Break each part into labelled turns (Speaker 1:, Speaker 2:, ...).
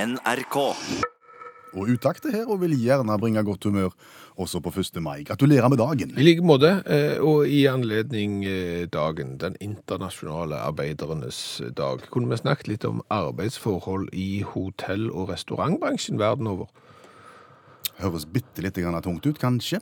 Speaker 1: NRK.
Speaker 2: Og utakt er her og vil gjerne bringe godt humør også på 1. mai. Gratulerer med dagen.
Speaker 3: I like måte, eh, og i anledning eh, dagen, den internasjonale arbeidernes dag, kunne vi snakket litt om arbeidsforhold i hotell- og restaurantbransjen verden over.
Speaker 2: Høres bitte litt grann tungt ut, kanskje?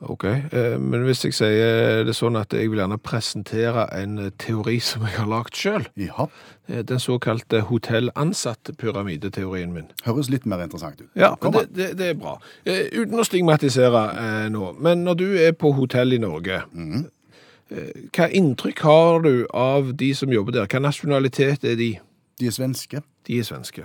Speaker 3: Ok, eh, men hvis jeg sier det sånn at jeg vil gjerne presentere en eh, teori som jeg har lagt selv,
Speaker 2: Ja.
Speaker 3: eh, den såkalte hotellansatt-pyramideteorien min.
Speaker 2: Høres litt mer interessant ut.
Speaker 3: Ja, men
Speaker 2: Kom
Speaker 3: det,
Speaker 2: an.
Speaker 3: det, det er bra. Eh, uten å stigmatisere eh, nå, men når du er på hotell i Norge, eh, hva inntrykk har du av de som jobber der? Hva nasjonalitet er de?
Speaker 2: De er svenske.
Speaker 3: De er svenske.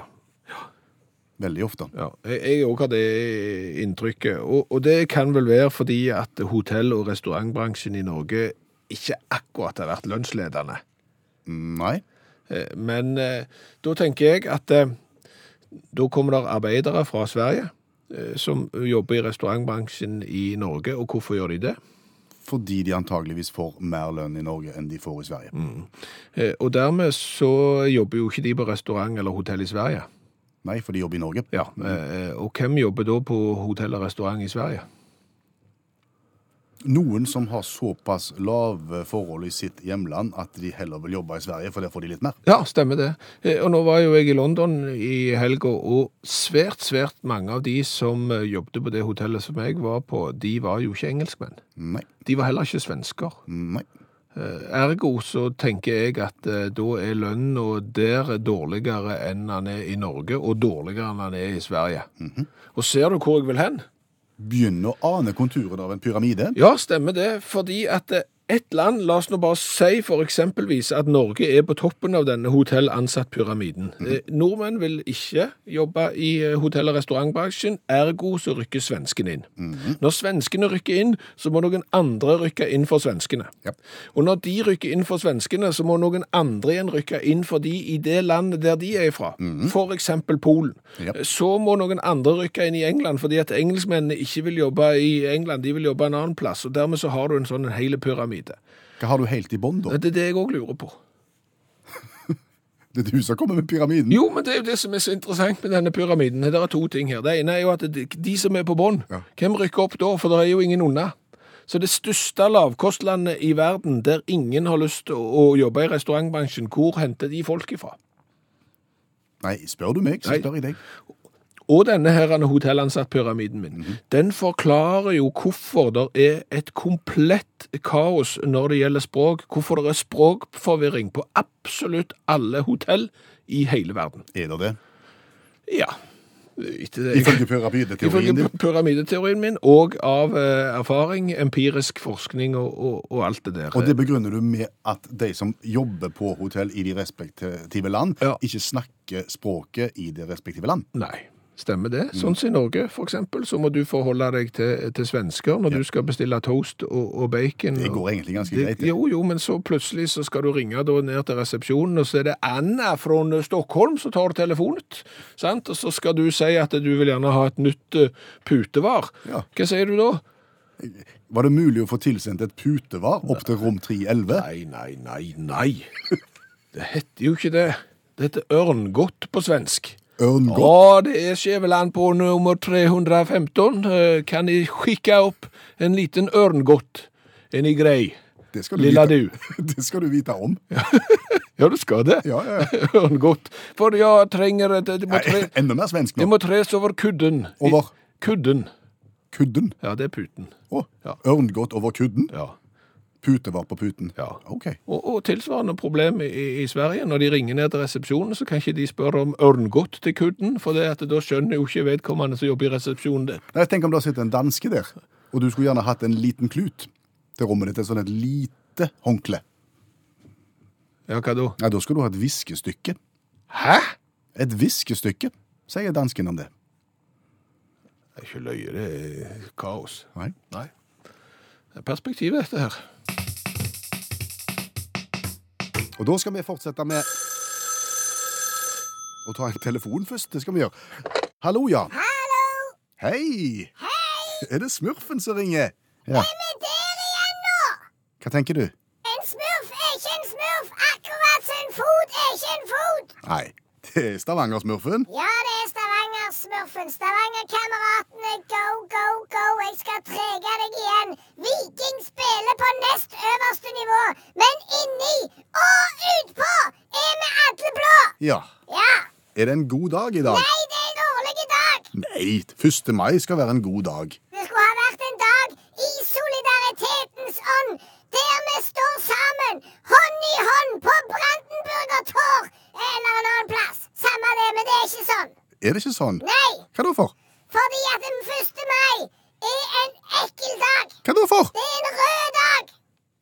Speaker 2: Veldig ofte.
Speaker 3: Ja, jeg- jeg òg har det inntrykket. Og, og det kan vel være fordi at hotell- og restaurantbransjen i Norge ikke akkurat har vært lønnsledende.
Speaker 2: Nei.
Speaker 3: Eh, Men eh, da tenker jeg at eh, da kommer det arbeidere fra Sverige eh, som jobber i restaurantbransjen i Norge, og hvorfor gjør de det?
Speaker 2: Fordi de antageligvis får mer lønn i Norge enn de får i Sverige.
Speaker 3: Eh, Og dermed så jobber jo ikke de på restaurant eller hotell i Sverige.
Speaker 2: Nei, for de jobber i Norge.
Speaker 3: Ja, eh, Og hvem jobber da på hotell og restaurant i Sverige?
Speaker 2: Noen som har såpass lave forhold i sitt hjemland at de heller vil jobbe i Sverige, for der får de litt mer.
Speaker 3: Ja, stemmer det. Eh, Og nå var jo jeg i London i helga, og svært, svært mange av de som eh, jobbet på det hotellet som jeg var på, de var jo ikke engelskmenn.
Speaker 2: Nei.
Speaker 3: De var heller ikke svensker.
Speaker 2: Nei.
Speaker 3: Eh, Ergo så tenker jeg at eh, da er lønnen og der dårligere enn han er i Norge, og dårligere enn han er i Sverige. Og ser du hvor jeg vil hen?
Speaker 2: Begynner å ane konturene av en pyramide.
Speaker 3: Ja, stemmer det, fordi at eh, et land, la oss nå bare si for eksempelvis at Norge er på toppen av denne hotellansatt-pyramiden. Eh, Nordmenn vil ikke jobbe i eh, hotell- og restaurantbransjen, ergo så rykker svensken inn. Når svenskene rykker inn, så må noen andre rykke inn for svenskene.
Speaker 2: Ja.
Speaker 3: Og når de rykker inn for svenskene, så må noen andre igjen rykke inn for de i det landet der de er fra. For eksempel Polen.
Speaker 2: Ja.
Speaker 3: Så må noen andre rykke inn i England, fordi at engelskmennene ikke vil jobbe i England, de vil jobbe en annen plass, og dermed så har du en sånn en hele pyramide.
Speaker 2: Hva har du helt i bånn, da?
Speaker 3: Det er det jeg òg lurer på.
Speaker 2: Det er du som kommer med pyramiden.
Speaker 3: Jo, men det er jo det som er så interessant med denne pyramiden. Det er to ting her. Det ene er jo at de, de som er på bånn,
Speaker 2: Ja.
Speaker 3: hvem rykker opp da? For det er jo ingen unna. Så det største lavkostlandet i verden, der ingen har lyst til å å jobbe i restaurantbransjen, hvor henter de folk ifra?
Speaker 2: Nei, spør du meg, så
Speaker 3: Nei.
Speaker 2: spør jeg deg.
Speaker 3: Og denne her denne hotellansatt-pyramiden min,
Speaker 2: Mhm.
Speaker 3: den forklarer jo hvorfor det er et komplett kaos når det gjelder språk, hvorfor det er språkforvirring på absolutt alle hotell i hele verden.
Speaker 2: Er det det?
Speaker 3: Ja, etter det
Speaker 2: Ifølge pyramideteorien
Speaker 3: Ifølge
Speaker 2: din?
Speaker 3: py- pyramideteorien min, og av eh, erfaring, empirisk forskning og, og, og alt det der.
Speaker 2: Og det begrunner du med at de som jobber på hotell i de respektive land,
Speaker 3: Ja.
Speaker 2: ikke snakker språket i det respektive land.
Speaker 3: Nei, stemmer det.
Speaker 2: Mm.
Speaker 3: Sånn som i Norge, for eksempel, så må du forholde deg til, til svensker når du skal bestille toast og, og bacon.
Speaker 2: Det
Speaker 3: og-
Speaker 2: går egentlig ganske
Speaker 3: Det-
Speaker 2: greit. det.
Speaker 3: Jo, jo, men så plutselig så skal du ringe da ned til resepsjonen, og så er det Anna fra Stockholm som tar telefonet, sant? Og så skal du si at du vil gjerne ha et nytt eh, putevar.
Speaker 2: Ja.
Speaker 3: Hva sier du da?
Speaker 2: Var det mulig å få tilsendt et putevar opp til rom 311?
Speaker 3: Nei, nei, nei, nei. Det heter jo ikke det. Det heter ørngodt på svensk.
Speaker 2: Ørngodt?
Speaker 3: Ja, det er Skjæveland på nummer 315. Eh, Kan de skikke opp en liten ørngodt? Er ni grei?
Speaker 2: Det skal du
Speaker 3: Lilla
Speaker 2: vite.
Speaker 3: du.
Speaker 2: Det skal du vite om.
Speaker 3: Ja, du skal det.
Speaker 2: Ja, ja.
Speaker 3: Ørngodt. For jeg trenger et Det må,
Speaker 2: Nei,
Speaker 3: tre,
Speaker 2: enda mer svensk
Speaker 3: det
Speaker 2: nå.
Speaker 3: må tres over kudden. I-
Speaker 2: Over?
Speaker 3: Kudden.
Speaker 2: Kudden.
Speaker 3: Ja, det er puten.
Speaker 2: Å,
Speaker 3: Ja.
Speaker 2: Ørngodt over kudden?
Speaker 3: Ja.
Speaker 2: Putevar på puten?
Speaker 3: Ja.
Speaker 2: OK.
Speaker 3: Og, og tilsvarende problem i, i Sverige. Når de ringer ned til resepsjonen, så kan ikke de spørre om ørngodt til kudden, for det at da skjønner jo ikke vedkommende som jobber i resepsjonen det.
Speaker 2: Nei, Tenk om det sitter en danske der, og du skulle gjerne hatt en liten klut til rommet ditt. Et sånn et lite håndkle.
Speaker 3: Ja, hva da?
Speaker 2: Nei, da skal du ha et viskestykke.
Speaker 3: Hæ?
Speaker 2: Et viskestykke, sier dansken om det.
Speaker 3: Det er ikke løye, det er kaos.
Speaker 2: Nei.
Speaker 3: Nei. Det er perspektivet, dette her.
Speaker 2: Og da skal vi fortsette med å ta en telefon først. Det skal vi gjøre. Hallo, ja. Hallo! Hei! Hei! Er det Smurfen som ringer? Ja.
Speaker 4: Men der igjen nå!
Speaker 2: Hva tenker du?
Speaker 4: En smurf er ikke en smurf, akkurat som en fot er ikke en fot.
Speaker 2: Nei, Det er Stavanger-smurfen.
Speaker 1: Ja, det er Stavanger-smurfen. Stavanger-kameratene, go, go, go. Jeg skal trege deg igjen. Viking spiller på nest øverste nivå, men inni og utpå er vi alle blå.
Speaker 2: Ja.
Speaker 1: Ja.
Speaker 2: Er det en god dag i dag?
Speaker 1: Nei, det er en dårlig dag.
Speaker 2: Nei, 1. mai skal være en god dag.
Speaker 1: Det skulle ha vært en dag i solidaritetens ånd, der vi står sammen, hånd i hånd, på Brandenburger Tor eller en annen plass. Samme det, men det er ikke sånn.
Speaker 2: Er det ikke sånn?
Speaker 1: Nei.
Speaker 2: Hva da for?
Speaker 1: Fordi at den 1. mai er en ekkel dag.
Speaker 2: Hva da for?
Speaker 1: Det er en rød dag.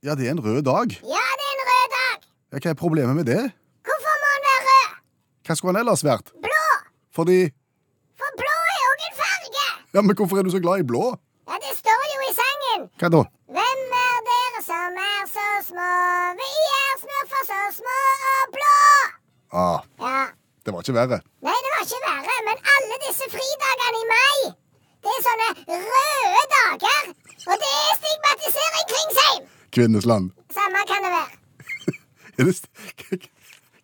Speaker 2: Ja, det er en rød dag.
Speaker 1: Ja, det er en rød dag.
Speaker 2: Ja, Hva er problemet med det?
Speaker 1: Hvorfor må den være rød?
Speaker 2: Hva skulle han ellers vært?
Speaker 1: Blå.
Speaker 2: Fordi
Speaker 1: For blå er òg en farge.
Speaker 2: Ja, men hvorfor er du så glad i blå?
Speaker 1: Ja, det står jo i sangen.
Speaker 2: Hva da?
Speaker 1: Hvem er dere som er så små? Vi er smurfer så små og blå.
Speaker 2: Ah,
Speaker 1: Ja.
Speaker 2: det var ikke verre.
Speaker 1: Nei, det var ikke verre, men alle disse fridagene i mai, det er sånne røde dager. Og det er stigmatisering kring seg.
Speaker 2: Kvinnesland.
Speaker 1: Samme kan det være.
Speaker 2: Er det st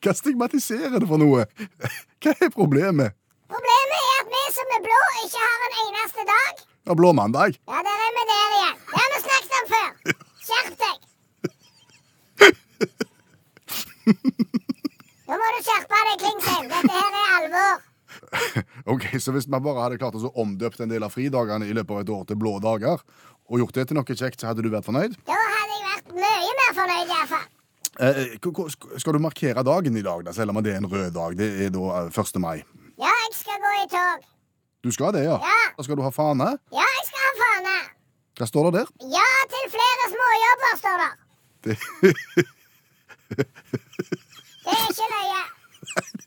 Speaker 2: Hva stigmatiserer det for noe? Hva er problemet?
Speaker 1: Problemet er at vi som er blå, ikke har en eneste dag.
Speaker 2: Ja, blå mandag.
Speaker 1: Ja, der er vi der igjen. Det har vi snakket om før. Skjerp deg. Nå må du skjerpe deg, Klingsheim. Dette her er alvor.
Speaker 2: Ok, Så hvis man bare hadde klart å så omdøpt en del av fridagene i løpet av et år til blå dager, og gjort det til noe kjekt, så hadde du vært fornøyd?
Speaker 1: Da hadde jeg vært mye mer fornøyd, iallfall.
Speaker 2: Eh, eh, hvor- hvor- skal du markere dagen i dag, da, selv om det er en rød dag? Det er da eh, 1. mai.
Speaker 1: Ja, jeg skal gå i tog.
Speaker 2: Du skal det, ja?
Speaker 1: Ja.
Speaker 2: Da skal du ha fane.
Speaker 1: Ja, jeg skal ha fane.
Speaker 2: Hva står det der?
Speaker 1: Ja til flere småjobber, står der.
Speaker 2: Det,
Speaker 1: Det er ikke løye.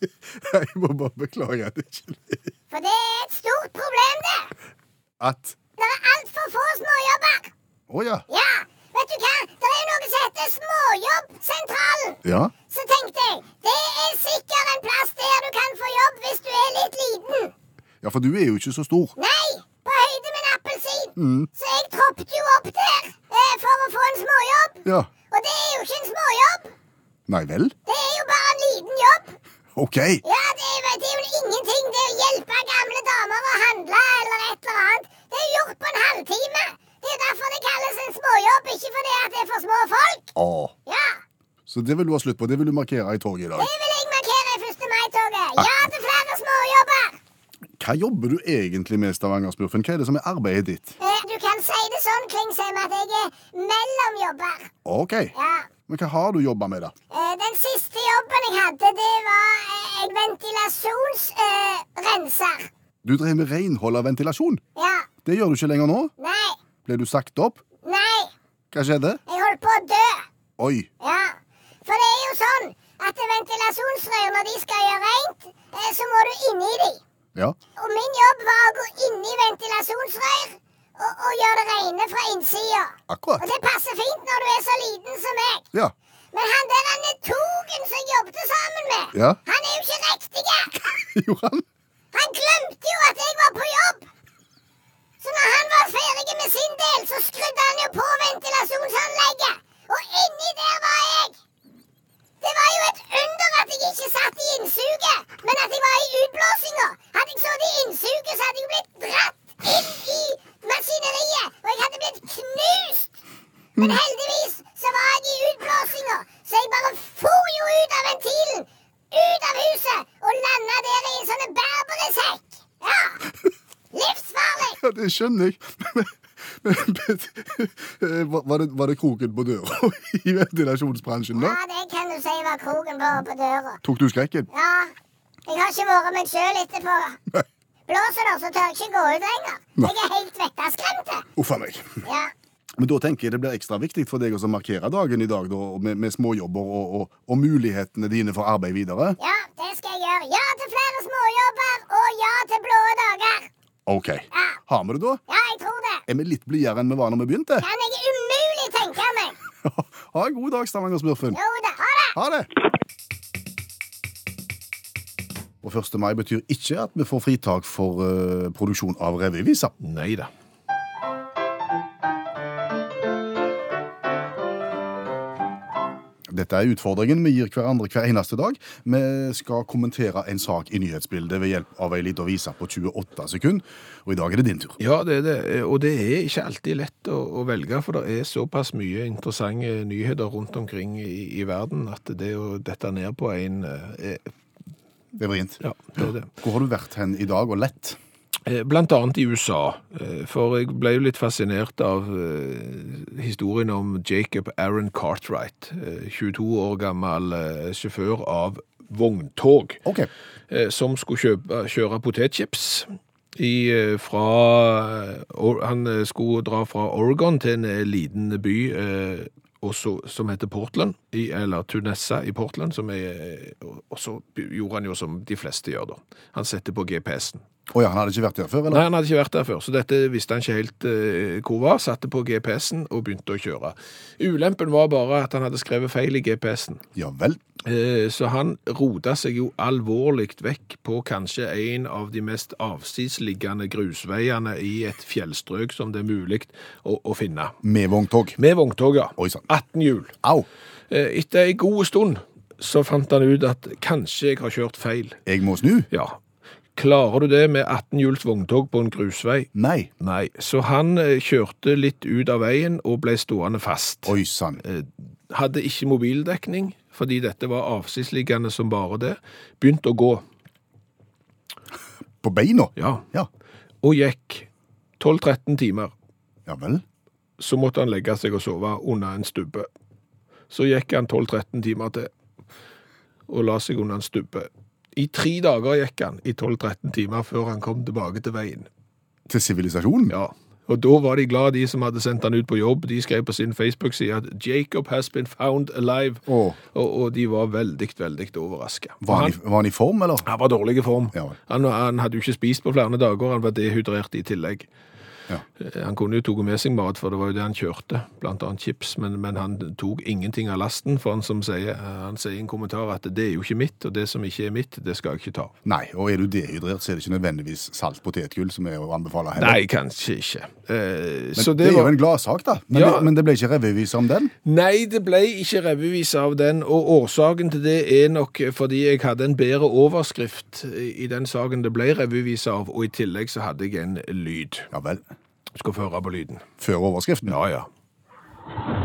Speaker 2: jeg må bare beklage at det ikke
Speaker 1: For det er et stort problem, det.
Speaker 2: At
Speaker 1: Det er altfor få småjobber.
Speaker 2: Å ja.
Speaker 1: Ja, vet du hva? Det er noe som heter Småjobbsentralen.
Speaker 2: Ja.
Speaker 1: Så tenkte jeg, det er sikkert en plass der du kan få jobb hvis du er litt liten.
Speaker 2: Ja, for du er jo ikke så stor.
Speaker 1: Nei, på høyde med en appelsin.
Speaker 2: Mm.
Speaker 1: Så jeg troppet jo opp der eh, for å få en småjobb.
Speaker 2: Ja.
Speaker 1: Og det er jo ikke en småjobb.
Speaker 2: Nei vel?
Speaker 1: Det er jo bare en liten jobb.
Speaker 2: OK.
Speaker 1: Ja, det er, jo- det er jo ingenting. Det er å hjelpe gamle damer å handle eller et eller annet. Det er jo gjort på en halvtime. Det er jo derfor det kalles en småjobb, ikke fordi at det er for små folk.
Speaker 2: Å.
Speaker 1: Ja.
Speaker 2: Så det vil du ha slutt på. Det vil du markere i torget i dag.
Speaker 1: Det vil jeg markere i 1. mai-toget. Ja til flere småjobber.
Speaker 2: Hva jobber du egentlig med, Stavanger-smurfen? Hva er det som er arbeidet ditt?
Speaker 1: Eh, Du kan si det sånn, Klingsheim, at jeg er mellomjobber.
Speaker 2: OK.
Speaker 1: Ja.
Speaker 2: Men hva har du jobba med, da?
Speaker 1: Eh, Den siste jobben jeg hadde, det var eh, en ventilasjonsrenser.
Speaker 2: Du drev med renhold av ventilasjon.
Speaker 1: Ja.
Speaker 2: Det gjør du ikke lenger nå.
Speaker 1: Nei.
Speaker 2: Ble du sagt opp?
Speaker 1: Nei.
Speaker 2: Hva skjedde?
Speaker 1: Jeg holdt på å dø.
Speaker 2: Oi.
Speaker 1: Ja. For det er jo sånn at ventilasjonsrør, når de skal gjøre rent, eh, så må du inni de.
Speaker 2: Ja.
Speaker 1: Og min jobb var å gå inni ventilasjonsrør og, og gjøre det rene fra innsida. Og
Speaker 2: Akkurat.
Speaker 1: det passer fint når du er så liten som meg.
Speaker 2: Ja.
Speaker 1: Men han der han er togen som jeg jobbet sammen med,
Speaker 2: Ja.
Speaker 1: han er jo ikke riktig.
Speaker 2: Johan?
Speaker 1: Han glemte jo at jeg var på jobb. Så når han var ferdig med sin del, så skrudde han jo på ventilasjonsanlegget. Og inni der var jeg. Det var jo et under at jeg ikke satt i innsuget, men at jeg var i utblåsinga. Hadde jeg sittet i innsuget, så hadde jeg blitt dratt inn i maskineriet, og jeg hadde blitt knust. Men heldigvis så var jeg i utblåsinga, så jeg bare for jo ut av ventilen, ut av huset, og landa der i en sånn berberesekk. Ja. Livsfarlig.
Speaker 2: Ja, det skjønner jeg. Men, men, eh, var- var, det, var det kroken på døra i ventilasjonsbransjen,
Speaker 1: Ja,
Speaker 2: da?
Speaker 1: det kan du si var kroken på, på døra.
Speaker 2: Tok du skrekken?
Speaker 1: Ja. Jeg har ikke vært meg sjøl etterpå.
Speaker 2: Nei.
Speaker 1: Blåser det, så tør jeg ikke gå ut lenger. Jeg er helt vettaskremt.
Speaker 2: Uff a meg.
Speaker 1: Ja.
Speaker 2: Men da tenker jeg det blir ekstra viktig for deg å så markere dagen i dag, da, og med, med småjobber og, og, og mulighetene dine for arbeid videre.
Speaker 1: ja, det skal jeg gjøre. Ja til flere småjobber og ja til blå dager.
Speaker 2: OK.
Speaker 1: Ja.
Speaker 2: Har vi det, da?
Speaker 1: ja, jeg tror det.
Speaker 2: Er vi litt blidere enn vi var når vi begynte?
Speaker 1: Kan jeg umulig tenke meg.
Speaker 2: Ha en god dag, Stavanger-smurfen.
Speaker 1: Jo da, ha det.
Speaker 2: Ha det! Og 1. mai betyr ikke at vi får fritak for eh, produksjon av revyviser.
Speaker 3: Nei da.
Speaker 2: Det Dette er utfordringen vi gir hverandre hver eneste dag. Vi skal kommentere en sak i nyhetsbildet ved hjelp av ei lita vise på 28 sekunder. Og i dag er det din tur.
Speaker 3: Ja, det er det. Og det er ikke alltid lett å, å velge, for det er såpass mye interessante nyheter rundt omkring i, i verden at det å dette ned på en eh, er-
Speaker 2: Det er vrient.
Speaker 3: Ja, det er det.
Speaker 2: Hvor har du vært hen i dag og lett?
Speaker 3: Eh, Blant annet i USA, eh, for jeg ble jo litt fascinert av eh, historien om Jacob Aaron Cartwright, eh, 22 år gammel eh, sjåfør av vogntog.
Speaker 2: OK.
Speaker 3: eh, som skulle kjøpe, kjøre potetchips. I, eh, fra, eh, Or- han eh, skulle dra fra Oregon til en eh, liten by eh, også, som heter Portland, i, eller Tunessa i Portland, som er, eh, og- og så gjorde han jo som de fleste gjør da. Han setter på GPS-en.
Speaker 2: Å ja, han hadde ikke vært der før,
Speaker 3: Nei,
Speaker 2: eller?
Speaker 3: han hadde ikke vært der før, så dette visste han ikke helt eh, hvor var. Satte på GPS-en og begynte å kjøre. Ulempen var bare at han hadde skrevet feil i GPS-en.
Speaker 2: Ja vel.
Speaker 3: Eh, Så han rota seg jo alvorlig vekk på kanskje en av de mest avsidesliggende grusveiene i et fjellstrøk som det er mulig å, å finne.
Speaker 2: Med vogntog.
Speaker 3: Med vogntoga.
Speaker 2: Oi sann.
Speaker 3: 18 hjul.
Speaker 2: Au!
Speaker 3: Eh, Etter ei god stund så fant han ut at kanskje jeg har kjørt feil.
Speaker 2: Jeg må snu?
Speaker 3: Ja. Klarer du det med 18 hjuls vogntog på en grusvei?
Speaker 2: Nei.
Speaker 3: Nei. Så han eh, kjørte litt ut av veien og ble stående fast.
Speaker 2: Oi sann.
Speaker 3: Eh, hadde ikke mobildekning, fordi dette var avsidesliggende som bare det, begynte å gå,
Speaker 2: På beina?
Speaker 3: ja,
Speaker 2: Ja.
Speaker 3: og gikk 12-13 timer.
Speaker 2: Ja vel.
Speaker 3: Så måtte han legge seg og sove under en stubbe. Så gikk han 12-13 timer til, og la seg under en stubbe. I tre dager gikk han i 12-13 timer før han kom tilbake til veien.
Speaker 2: Til sivilisasjonen?
Speaker 3: Ja, og da var de glad de som hadde sendt han ut på jobb. De skrev på sin Facebook-side at 'Jacob has been found alive',
Speaker 2: Åh.
Speaker 3: og, og de var veldig, veldig overraska.
Speaker 2: Var han, i, var han i form, eller?
Speaker 3: Han var dårlig i form.
Speaker 2: Ja vel.
Speaker 3: Han, han hadde jo ikke spist på flere dager, han var dehydrert i tillegg.
Speaker 2: Ja.
Speaker 3: Eh, Han kunne jo tatt med seg mat, for det var jo det han kjørte, blant annet chips, men, men han tok ingenting av lasten, for han som sier, eh, han sier i en kommentar at det er jo ikke mitt, og det som ikke er mitt, det skal jeg ikke ta.
Speaker 2: Nei, og er du dehydrert, så er det ikke nødvendigvis salt potetgull som er å anbefale heller.
Speaker 3: Nei, kanskje ikke. Eh,
Speaker 2: Men
Speaker 3: så
Speaker 2: det,
Speaker 3: det
Speaker 2: er jo
Speaker 3: var...
Speaker 2: en gladsak, da. Men,
Speaker 3: Ja.
Speaker 2: det, men det ble ikke revyvise om den?
Speaker 3: Nei, det ble ikke revyvise av den, og årsaken til det er nok fordi jeg hadde en bedre overskrift i den saken det ble revyvise av, og i tillegg så hadde jeg en lyd.
Speaker 2: Ja vel.
Speaker 3: Skal få høre på lyden.
Speaker 2: Før overskriften?
Speaker 3: Ja, ja.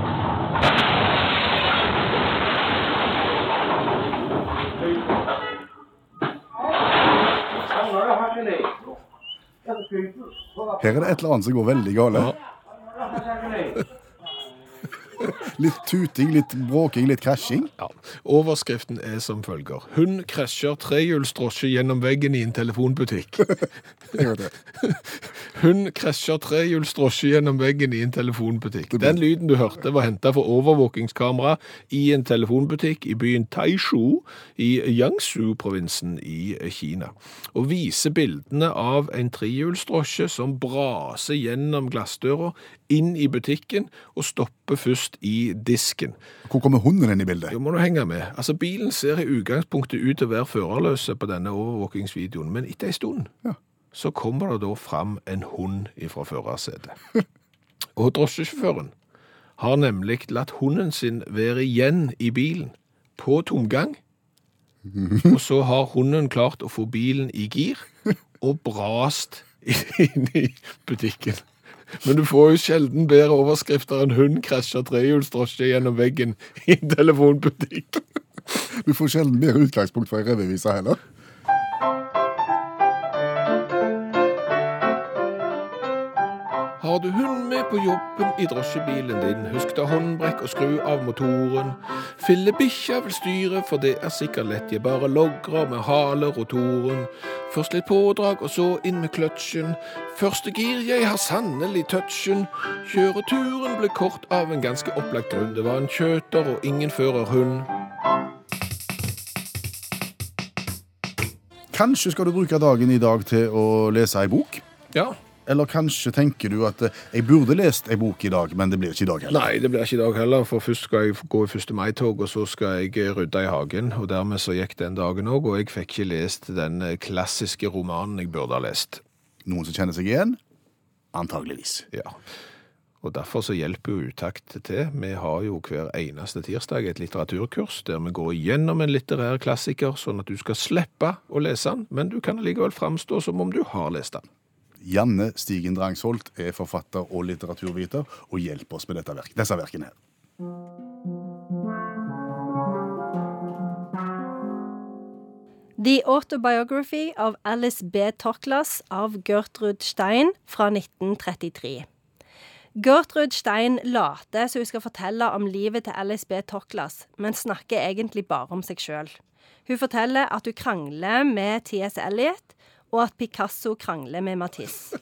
Speaker 2: Her er det et eller annet som går veldig gale. Litt tuting, litt bråking, litt krasjing.
Speaker 3: Ja. Overskriften er som følger. Hun krasjer trehjulsdrosje gjennom veggen i en telefonbutikk. Hun krasjer trehjulsdrosje gjennom veggen i en telefonbutikk. Den lyden du hørte var henta fra overvåkingskamera i en telefonbutikk i byen Taishu i Jiangsu-provinsen i Kina. Og viser bildene av en trehjulsdrosje som braser gjennom glassdøra inn i butikken og stopper først i disken.
Speaker 2: Hvor kommer hunden inn i bildet?
Speaker 3: Jo, må du henge med. Altså, Bilen ser i utgangspunktet ut til å være førerløse på denne overvåkingsvideoen, men etter en stund
Speaker 2: Ja.
Speaker 3: så kommer det da fram en hund ifra førersetet. Og drosjesjåføren har nemlig latt hunden sin være igjen i bilen på tomgang, og så har hunden klart å få bilen i gir og brast inn i butikken. Men du får jo sjelden bedre overskrifter enn 'hund krasjer trehjulsdrosje gjennom veggen' i en telefonbutikk.
Speaker 2: Du får sjelden bedre utgangspunkt for ei revyvise heller.
Speaker 3: Har du hund med på jobben i drosjebilen din, husk ta håndbrekk og skru av motoren. Fille bikkja vil styre, for det er sikkert lett, jeg bare logrer med halerotoren. Først litt pådrag, og så inn med kløtsjen. Første gir, jeg har sannelig touchen. Kjøreturen ble kort av en ganske opplagt grunn. Det var en kjøter og ingen førerhund.
Speaker 2: Kanskje skal du bruke dagen i dag til å lese ei bok?
Speaker 3: Ja.
Speaker 2: Eller kanskje tenker du at eh, jeg burde lest ei bok i dag, men det blir ikke i dag heller.
Speaker 3: Nei, det blir ikke i dag heller, for først skal jeg gå i 1. mai-tog, og så skal jeg eh, rydde i hagen. Og dermed så gikk den dagen òg, og jeg fikk ikke lest den eh, klassiske romanen jeg burde ha lest.
Speaker 2: Noen som kjenner seg igjen? Antageligvis.
Speaker 3: Ja. Og derfor så hjelper jo utakt til. Vi har jo hver eneste tirsdag et litteraturkurs der vi går gjennom en litterær klassiker, sånn at du skal slippe å lese den, men du kan allikevel framstå som om du har lest den.
Speaker 2: Janne Stigen Drangsholt er forfatter og litteraturviter og hjelper oss med dette verk, disse verkene her.
Speaker 4: The Autobiography of Alice B. Toklas av Gertrud Stein fra 1933. Gertrud Stein later som hun skal fortelle om livet til Alice B. Toklas, men snakker egentlig bare om seg sjøl. Hun forteller at hun krangler med T.S. Eliot, og at Picasso krangler med Matisse.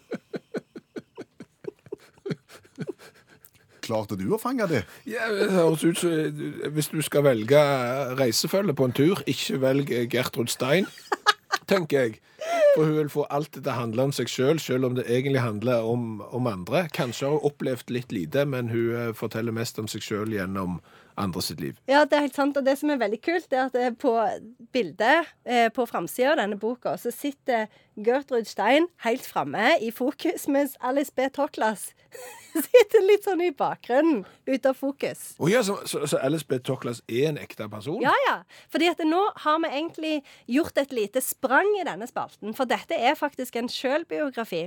Speaker 2: Klarte du å fange det?
Speaker 3: Ja, det høres ut som eh, Hvis du skal velge eh, reisefølge på en tur, ikke velg eh, Gertrud Stein, tenker jeg. For hun vil få alt til å handle om seg sjøl, selv, selv om det egentlig handler om, om andre. Kanskje har hun opplevd litt lite, men hun eh, forteller mest om seg sjøl gjennom andre sitt liv.
Speaker 4: Ja, det er helt sant. Og det som er veldig kult, det er at eh, på bildet eh, på framsida av denne boka, så sitter Gertrud Stein helt framme i fokus, mens Alice B. Toklas sitter litt sånn i bakgrunnen, ut av fokus.
Speaker 3: Å ja, så, så, så Alice B. Toklas er en ekte person?
Speaker 4: Ja, ja. Fordi at nå har vi egentlig gjort et lite sprang i denne spalten, for dette er faktisk en sjølbiografi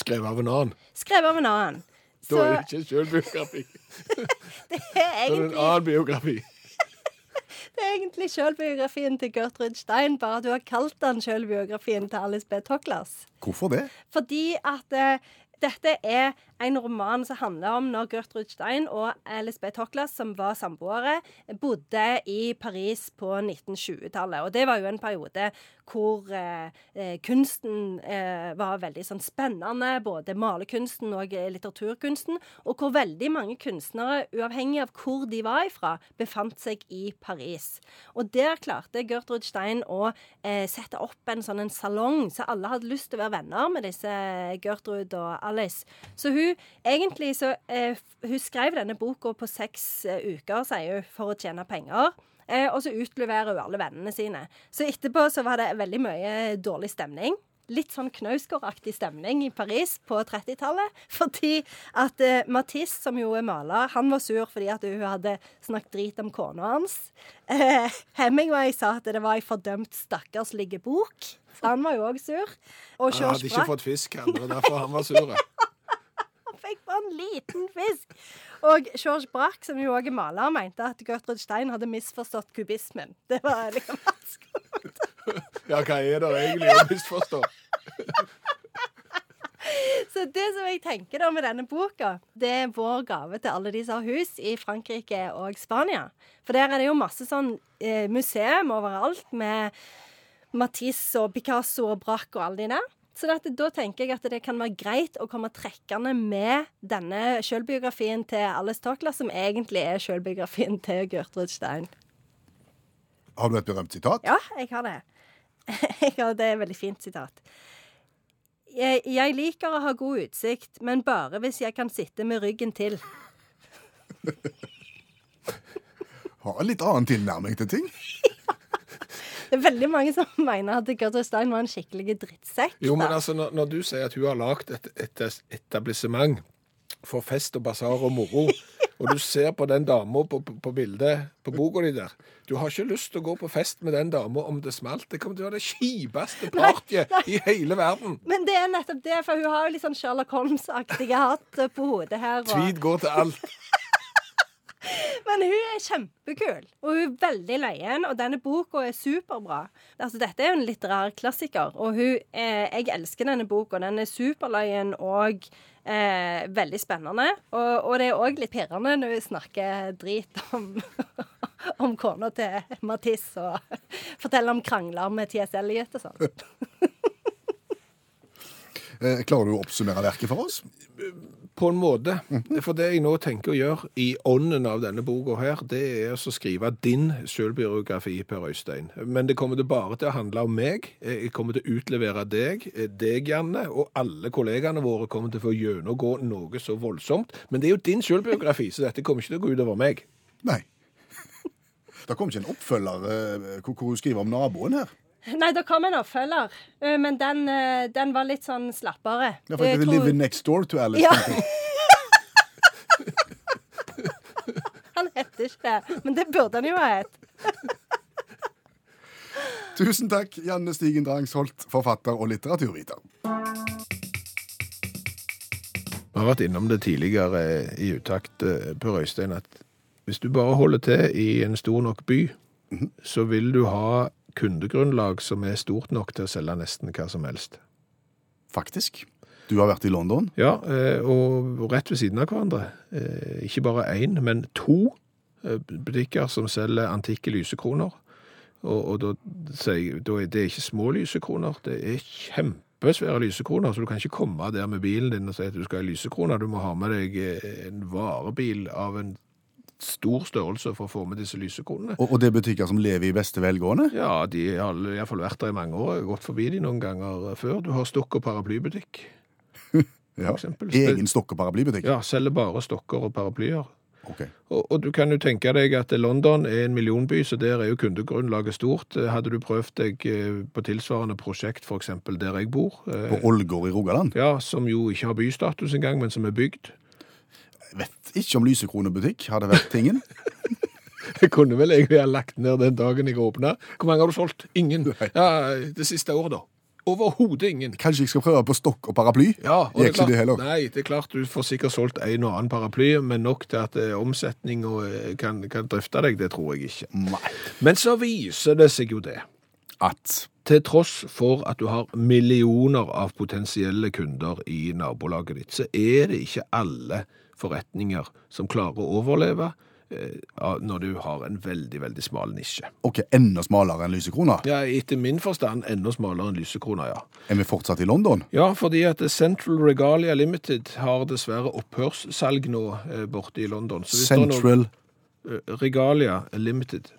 Speaker 3: Skrevet av en annen?
Speaker 4: skrevet av en annen. Så
Speaker 3: Da er det ikke sjølbiografi. Da
Speaker 4: det er
Speaker 3: er det en
Speaker 4: egentlig,
Speaker 3: annen biografi.
Speaker 4: det er egentlig sjølbiografien til Gertrud Stein, bare at du har kalt den sjølbiografien til Alice B. Toklas.
Speaker 2: Hvorfor det?
Speaker 4: Fordi at eh, dette er en roman som handler om når Gertrud Stein og Alice B. Toklas, som var samboere, bodde i Paris på 1920-tallet. Og det var jo en periode hvor eh, eh, kunsten eh, var veldig sånn spennende, både malerkunsten og eh, litteraturkunsten, og hvor veldig mange kunstnere, uavhengig av hvor de var ifra, befant seg i Paris. Og der klarte Gertrud Stein å eh, sette opp en sånn en salong, så alle hadde lyst til å være venner med disse Gertrud og Alice. Så hun egentlig så eh, f- Hun skrev denne boka på seks eh, uker, sier hun, for å tjene penger. Eh, og så utleverer hun alle vennene sine. Så etterpå så var det veldig mye dårlig stemning. Litt sånn Knausgård-aktig stemning i Paris på 30-tallet. Fordi at eh, Matisse, som jo er maler, han var sur fordi at hun hadde snakket drit om kona hans. Eh, Hemingway sa at det var ei fordømt stakkarslige bok. Så han var jo òg sur.
Speaker 3: Han
Speaker 4: Og
Speaker 3: hadde
Speaker 4: George
Speaker 3: ikke
Speaker 4: Braque
Speaker 3: fått fisk, han, og derfor han var sur.
Speaker 4: fikk bare en liten fisk. Og George Braque, som jo òg er maler, mente at Gertrud Stein hadde misforstått kubismen. Det var liksom hans
Speaker 3: Ja, hva er det egentlig å misforstå?
Speaker 4: Så det som jeg tenker da med denne boka, det er vår gave til alle de som har hus i Frankrike og Spania. For der er det jo masse sånn eh, museum overalt med Matisse og Picasso og Braque og alle de der. Så dette, da tenker jeg at det kan være greit å komme trekkende med denne sjølbiografien til Alice Toklas, som egentlig er sjølbiografien til Gertrud Stein.
Speaker 2: Har du et berømt sitat?
Speaker 4: Ja, jeg har det. Jeg har det er et veldig fint sitat. Jeg, jeg liker å ha god utsikt, men bare hvis jeg kan sitte med ryggen til.
Speaker 2: Har en litt annen tilnærming til ting.
Speaker 4: Det er veldig mange som mener at Gertrud Stein var en skikkelig drittsekk.
Speaker 3: Jo, men
Speaker 4: da.
Speaker 3: altså, når, når du sier at hun har lagd et, et etablissement for fest og basar og moro, og du ser på den dama på, på, på bildet på boka di der Du har ikke lyst til å gå på fest med den dama om det smalt. Det kommer til å være det kjipeste partyet i hele verden.
Speaker 4: Men det er nettopp det, for hun har jo litt sånn Sherlock Holmes-aktige hatt på hodet her. Og...
Speaker 3: Tweed går til alt.
Speaker 4: Men hun er kjempekul, og hun er veldig løyen, og denne boka er superbra. Altså, dette er jo en litterær klassiker, og hun, eh, jeg elsker denne boka. Den er superløyen og eh, veldig spennende. Og, og det er òg litt pirrende når hun snakker drit om Om kona til Matisse og forteller om krangler med TS Eliot og sånn.
Speaker 2: Eh, klarer du å oppsummere verket for oss?
Speaker 3: På en måte. For det jeg nå tenker å gjøre i ånden av denne boka her, det er altså å skrive din selvbiografi, Per Øystein. Men det kommer til bare til å handle om meg. Jeg kommer til å utlevere deg, deg, Janne, og alle kollegaene våre kommer til å få gjennomgå noe så voldsomt. Men det er jo din selvbiografi, så dette kommer ikke til å gå utover meg.
Speaker 2: Nei. Det kom ikke en oppfølger eh, hvor hvor hun skriver om naboen her.
Speaker 4: Nei, det kom en oppfølger, eh, men den, eh, den var litt sånn slappere.
Speaker 2: Ja, for det
Speaker 4: Jeg
Speaker 2: er
Speaker 4: tror-
Speaker 2: Live next door to Alice.
Speaker 4: Ja.
Speaker 2: tenker jeg.
Speaker 4: heter ikke det, men det burde den jo ha hett.
Speaker 2: Tusen takk, Janne Stigen Drangsholt, forfatter og litteraturviter.
Speaker 3: Vi har vært innom det tidligere i utakt, eh, Per Øystein, at hvis du bare holder til i en stor nok by, så vil du ha kundegrunnlag som er stort nok til å selge nesten hva som helst.
Speaker 2: Faktisk. Du har vært i London.
Speaker 3: Ja, eh, og rett ved siden av hverandre. eh, Ikke bare én, men to eh, butikker som selger antikke lysekroner. Og, og da sier jeg da er det ikke små lysekroner, det er kjempesvære lysekroner. Så du kan ikke komme der med bilen din og si at du skal ha lysekroner. Du må ha med deg eh, en varebil av en stor størrelse for å få med disse lysekronene.
Speaker 2: Og, og det er butikker som lever i beste velgående.
Speaker 3: Ja, de har iallfall vært der i mange år. Jeg har gått forbi de noen ganger før. Du har stokk- og paraplybutikk.
Speaker 2: Ja.
Speaker 3: eksempel.
Speaker 2: Egen stokkeparaplybutikk.
Speaker 3: Ja, selger bare stokker og paraplyer.
Speaker 2: Ok.
Speaker 3: Og, og du kan jo tenke deg at London er en millionby, så der er jo kundegrunnlaget stort. Eh, Hadde du prøvd deg eh, på tilsvarende prosjekt f.eks. der jeg bor, eh,
Speaker 2: På Ålgård i Rogaland.
Speaker 3: ja, som jo ikke har bystatus engang, men som er bygd
Speaker 2: Jeg vet ikke om lysekronebutikk hadde vært tingen.
Speaker 3: Jeg kunne vel egentlig ha lagt ned den dagen jeg åpna. Hvor mange har du solgt? Ingen. Ja, Det siste året, da. Overhodet ingen.
Speaker 2: Kanskje jeg skal prøve på stokk og paraply?
Speaker 3: Ja, og
Speaker 2: Gikk
Speaker 3: klart-
Speaker 2: ikke det heller.
Speaker 3: Nei, det er klart du får sikkert solgt en og annen paraply, men nok til at eh, omsetning og, eh, kan, kan drifte deg, det tror jeg ikke.
Speaker 2: Nei.
Speaker 3: Men så viser det seg jo det.
Speaker 2: At
Speaker 3: Til tross for at du har millioner av potensielle kunder i nabolaget ditt, så er det ikke alle forretninger som klarer å overleve eh, av- når du har en veldig, veldig smal nisje.
Speaker 2: Ok, enda smalere enn lysekrona.
Speaker 3: Ja, Etter min forstand enda smalere enn lysekrona, ja.
Speaker 2: Er vi fortsatt i London?
Speaker 3: Ja, fordi at Central Regalia Limited har dessverre opphørssalg nå eh, borte i London. Så hvis det er noen-
Speaker 2: Central
Speaker 3: eh, Regalia Limited.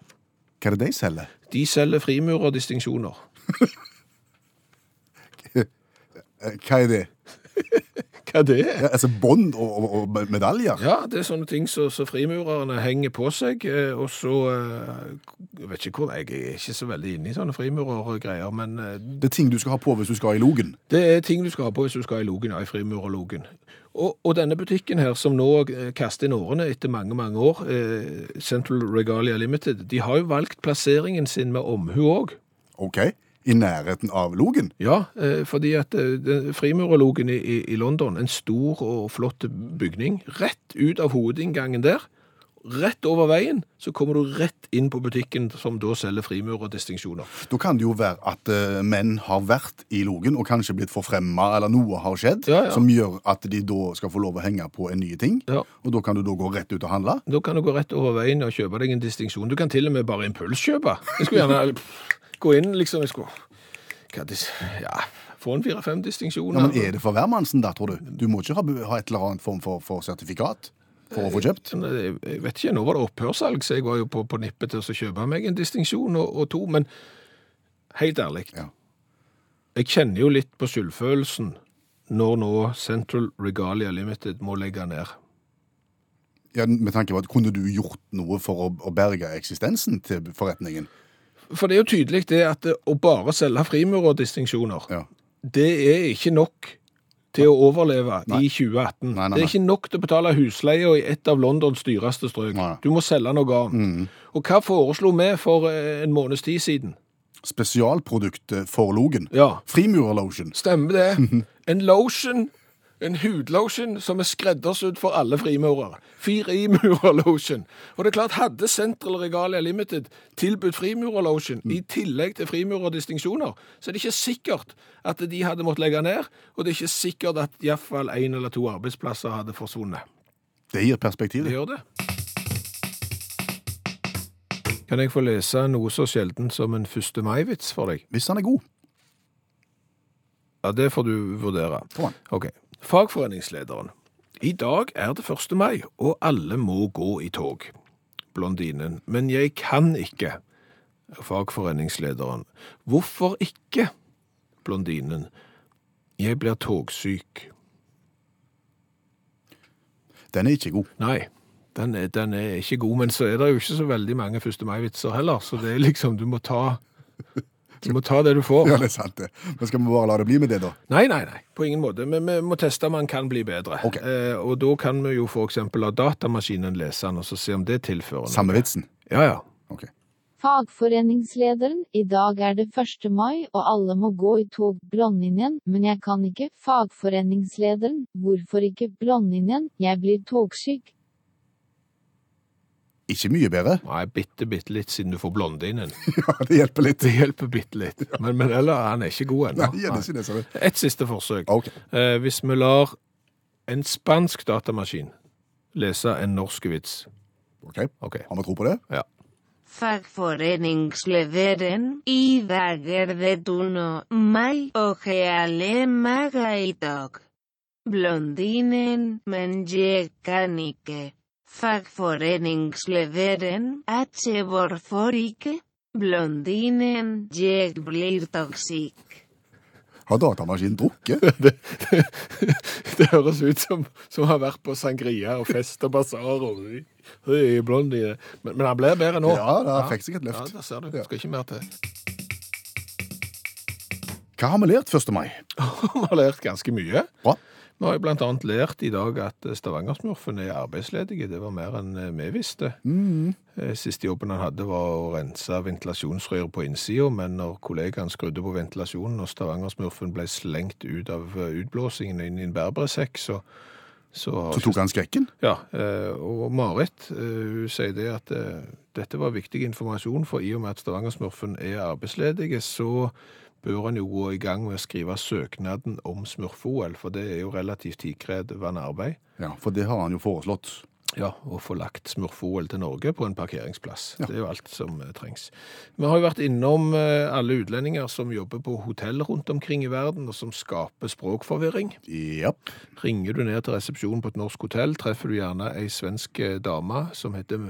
Speaker 2: Hva er det de selger?
Speaker 3: De selger frimurerdistinksjoner.
Speaker 2: Eh, Hva er det?
Speaker 3: Hva det er?
Speaker 2: Ja, Altså bånd og, og, og medaljer?
Speaker 3: Ja, det er sånne ting som så, frimurerne henger på seg, eh, og så eh, Jeg vet ikke hvor, jeg er ikke så veldig inne i sånne frimurergreier, men eh,
Speaker 2: Det er ting du skal ha på hvis du skal i logen.
Speaker 3: det er ting du skal ha på hvis du skal i logen, ja, i frimurerlogen. Og, og denne butikken her, som nå eh, kaster inn årene etter mange, mange år, eh, Central Regalia Limited, de har jo valgt plasseringen sin med omhu òg.
Speaker 2: Ok, i nærheten av logen.
Speaker 3: Ja, eh, fordi at eh, den- frimurerlogen i, i- i London, en stor og flott bygning, rett ut av hovedinngangen der, rett over veien, så kommer du rett inn på butikken som da selger frimurerdistinksjoner.
Speaker 2: Da kan det jo være at eh, menn har vært i logen og kanskje blitt forfremma, eller noe har skjedd
Speaker 3: Ja, ja.
Speaker 2: som gjør at de da skal få lov å henge på en ny ting.
Speaker 3: Ja.
Speaker 2: Og da kan du da gå rett ut og handle.
Speaker 3: Da kan du gå rett over veien og kjøpe deg en distinksjon. Du kan til og med bare impulskjøpe. Jeg skulle gjerne eller, pff, gå inn, liksom. Jeg skulle hva, dis, ja, få en fire-fem distinksjoner.
Speaker 2: Ja, men Er det for hvermannsen, da, tror du? Du må ikke ha, ha et eller annet form for, for sertifikat for å få kjøpt?
Speaker 3: Men Jeg Sånn, eh, jeg vet ikke, nå var det opphørssalg, så jeg var jo på, på nippet til å kjøpe meg en distinksjon og, og to, men helt ærlig,
Speaker 2: Ja.
Speaker 3: jeg kjenner jo litt på skyldfølelsen når nå Central Regalia Limited må legge ned.
Speaker 2: Ja, med tanke på at Kunne du gjort noe for å, å berge eksistensen til forretningen?
Speaker 3: For det er jo tydelig det at det, å bare selge frimurerdistinksjoner,
Speaker 2: Ja.
Speaker 3: det er ikke nok til å overleve i 2018.
Speaker 2: Nei, nei,
Speaker 3: Det
Speaker 2: nei.
Speaker 3: er ikke nok til å betale husleie i et av Londons dyreste strøk.
Speaker 2: Nei. Mm.
Speaker 3: Du må selge noe annet. Og hva foreslo vi for eh, en måneds tid siden?
Speaker 2: Spesialproduktet eh, for logen.
Speaker 3: Ja,
Speaker 2: Frimurerlotion.
Speaker 3: Stemmer det. En lotion, en hudlotion som er skreddersydd for alle frimurere. Frimurerlotion. Og det er klart, hadde Central Regalia Limited tilbudt frimurerlotion i tillegg til frimurerdistinksjoner, så er det ikke sikkert at de hadde måttet legge ned, og det er ikke sikkert at iallfall én eller to arbeidsplasser hadde forsvunnet.
Speaker 2: Det gir perspektiv.
Speaker 3: Det
Speaker 2: det.
Speaker 3: gjør det. Kan jeg få lese noe så sjelden som en 1. mai-vits for deg?
Speaker 2: Hvis han er god.
Speaker 3: Ja, det får du vurdere.
Speaker 2: Kom an.
Speaker 3: Ok. Fagforeningslederen. I dag er det 1. mai, og alle må gå i tog. Blondinen. Men jeg kan ikke. Fagforeningslederen. Hvorfor ikke? Blondinen. Jeg blir togsyk.
Speaker 2: Den er ikke god.
Speaker 3: Nei, den er, den er ikke god, men så er det jo ikke så veldig mange 1. mai-vitser heller, så det er liksom, du må ta Du må ta det du får.
Speaker 2: Ja, det er sant det. Men skal vi bare la det bli med det, da?
Speaker 3: Nei, nei, nei. På ingen måte. Men vi må teste om han kan bli bedre.
Speaker 2: Ok.
Speaker 3: Eh, og da kan vi jo f.eks. la datamaskinen lese han, og så se om det tilfører noe.
Speaker 2: Samme vitsen?
Speaker 3: Ja, ja.
Speaker 2: Ok.
Speaker 5: Fagforeningslederen, i dag er det 1. mai og alle må gå i tog Blondinen, men jeg kan ikke fagforeningslederen, hvorfor ikke Blondinen, jeg blir togsyk.
Speaker 2: Ikke mye bedre.
Speaker 3: Nei, bitte, bitte litt siden du får blondinen.
Speaker 2: Ja, det hjelper litt.
Speaker 3: Det hjelper bitte litt. Men, men ellers, han er ikke god ennå.
Speaker 2: Nei, gjør det ikke det, sa du.
Speaker 3: Et siste forsøk.
Speaker 2: Ok.
Speaker 3: Eh, hvis vi lar en spansk datamaskin lese en norsk vits
Speaker 2: ok.
Speaker 3: OK.
Speaker 2: Har vi tro på det?
Speaker 3: Ja.
Speaker 6: Fagforeningslederen i dager det 1. mai og hele maga i dag. Blondinen, men jeg kan ikke. Fagforeningslederen, atse hvorfor ikke? Blondinen, jeg blir toksik.
Speaker 2: Har datamaskinen drukket?
Speaker 3: Det, det, det høres ut som, som har vært på sangria og fest og basar og høy, høy, blondine. Men, men han blir bedre nå.
Speaker 2: Ja, det fikk seg et
Speaker 3: Ja,
Speaker 2: løft.
Speaker 3: der ser du.
Speaker 2: Ja.
Speaker 3: Skal ikke mer til.
Speaker 2: Hva har vi lært 1. mai?
Speaker 3: Vi har lært ganske mye.
Speaker 2: Bra.
Speaker 3: Vi har jo blant annet lært i dag at eh, Stavangersmurfen er arbeidsledige. Det var mer enn vi visste. Eh, Siste jobben han hadde var å rense ventilasjonsrør på innsida, men når kollegaen skrudde på ventilasjonen og Stavangersmurfen ble slengt ut av eh, utblåsingen inn i en bærbresekk, så, så har
Speaker 2: Så tok han skrekken?
Speaker 3: Ja, eh, og Marit eh, hun sier det at eh, dette var viktig informasjon, for i og med at Stavanger-smurfen er arbeidsledige, så bør han jo gå i gang med å skrive søknaden om smurf-OL, for det er jo relativt tidkrevende arbeid.
Speaker 2: Ja, for det har han jo foreslått.
Speaker 3: Ja, Å få lagt smurf-OL til Norge på en parkeringsplass.
Speaker 2: Ja.
Speaker 3: Det er jo alt som eh, trengs. Vi har jo vært innom eh, alle utlendinger som jobber på hotell rundt omkring i verden, og som skaper språkforvirring.
Speaker 2: Ja.
Speaker 3: Ringer du ned til resepsjonen på et norsk hotell, treffer du gjerne ei svensk eh, dame som heter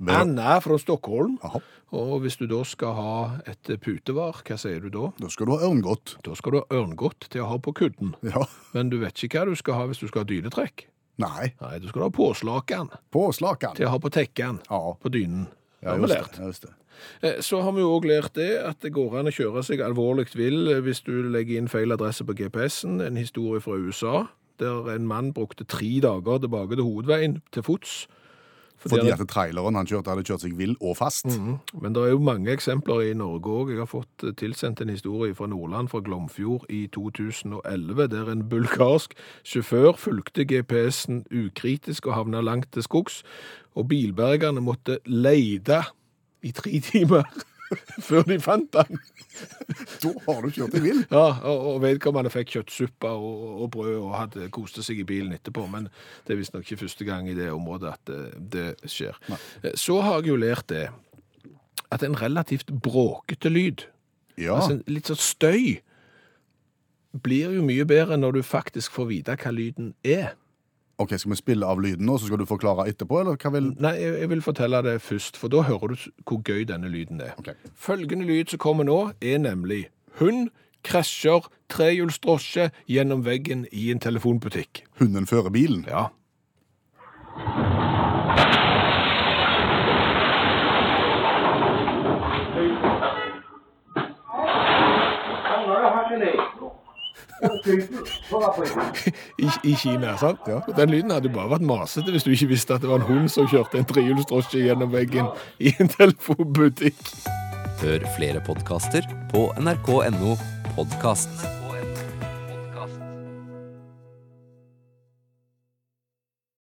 Speaker 2: Vel,
Speaker 3: Anna fra Stockholm.
Speaker 2: Jaha.
Speaker 3: Og hvis du da skal ha et putevar, hva sier du da?
Speaker 2: Da skal du ha ørngodt.
Speaker 3: Da skal du ha ørngodt til å ha på kudden.
Speaker 2: Ja.
Speaker 3: Men du vet ikke hva du skal ha hvis du skal ha dynetrekk.
Speaker 2: Nei,
Speaker 3: Nei, du skal ha påslakan
Speaker 2: på slakan.
Speaker 3: til å ha på tekken
Speaker 2: Ja,
Speaker 3: på dynen.
Speaker 2: ja,
Speaker 3: Har vi
Speaker 2: just
Speaker 3: lært.
Speaker 2: det. ja, just det.
Speaker 3: Eh, Så har vi jo òg lært det at det går an å kjøre seg alvorlig vill eh, hvis du legger inn feil adresse på GPS-en. En historie fra USA der en mann brukte tre dager tilbake til hovedveien til fots.
Speaker 2: Fordi
Speaker 3: han-
Speaker 2: at Mhm. traileren han kjørte, hadde kjørt seg vill og fast.
Speaker 3: Men det er jo mange eksempler i Norge òg. Jeg har fått eh, tilsendt en historie fra Nordland, fra Glomfjord i 2011, der en bulgarsk sjåfør fulgte GPS-en ukritisk og havna langt til skogs. Og bilbergerne måtte leide i tre timer før de fant han.
Speaker 2: Da har du kjørt deg vill.
Speaker 3: Ja, og og vedkommende fikk kjøttsuppe og, og brød og hadde koste seg i bilen etterpå, men det er visstnok ikke første gang i det området at det, det skjer. Eh, Så har jeg jo lært det, at en relativt bråkete lyd,
Speaker 2: Ja,
Speaker 3: altså en litt sånn støy, blir jo mye bedre når du faktisk får vite hva lyden er.
Speaker 2: ok, Skal vi spille av lyden nå, så skal du forklare etterpå? eller hva vil...
Speaker 3: Nei, jeg, jeg vil fortelle det først, for da hører du s- hvor gøy denne lyden er.
Speaker 2: Ok.
Speaker 3: Følgende lyd som kommer nå, er nemlig hund krasjer trehjulsdrosje gjennom veggen i en telefonbutikk.
Speaker 2: Hunden fører bilen?
Speaker 3: Ja. I, I Kina, sant? Ja. Den lyden hadde jo bare vært masete hvis du ikke visste at det var en hund som kjørte en trehjulsdrosje gjennom veggen i en telefonbutikk.
Speaker 7: Hør flere podkaster på nrk.no podkast.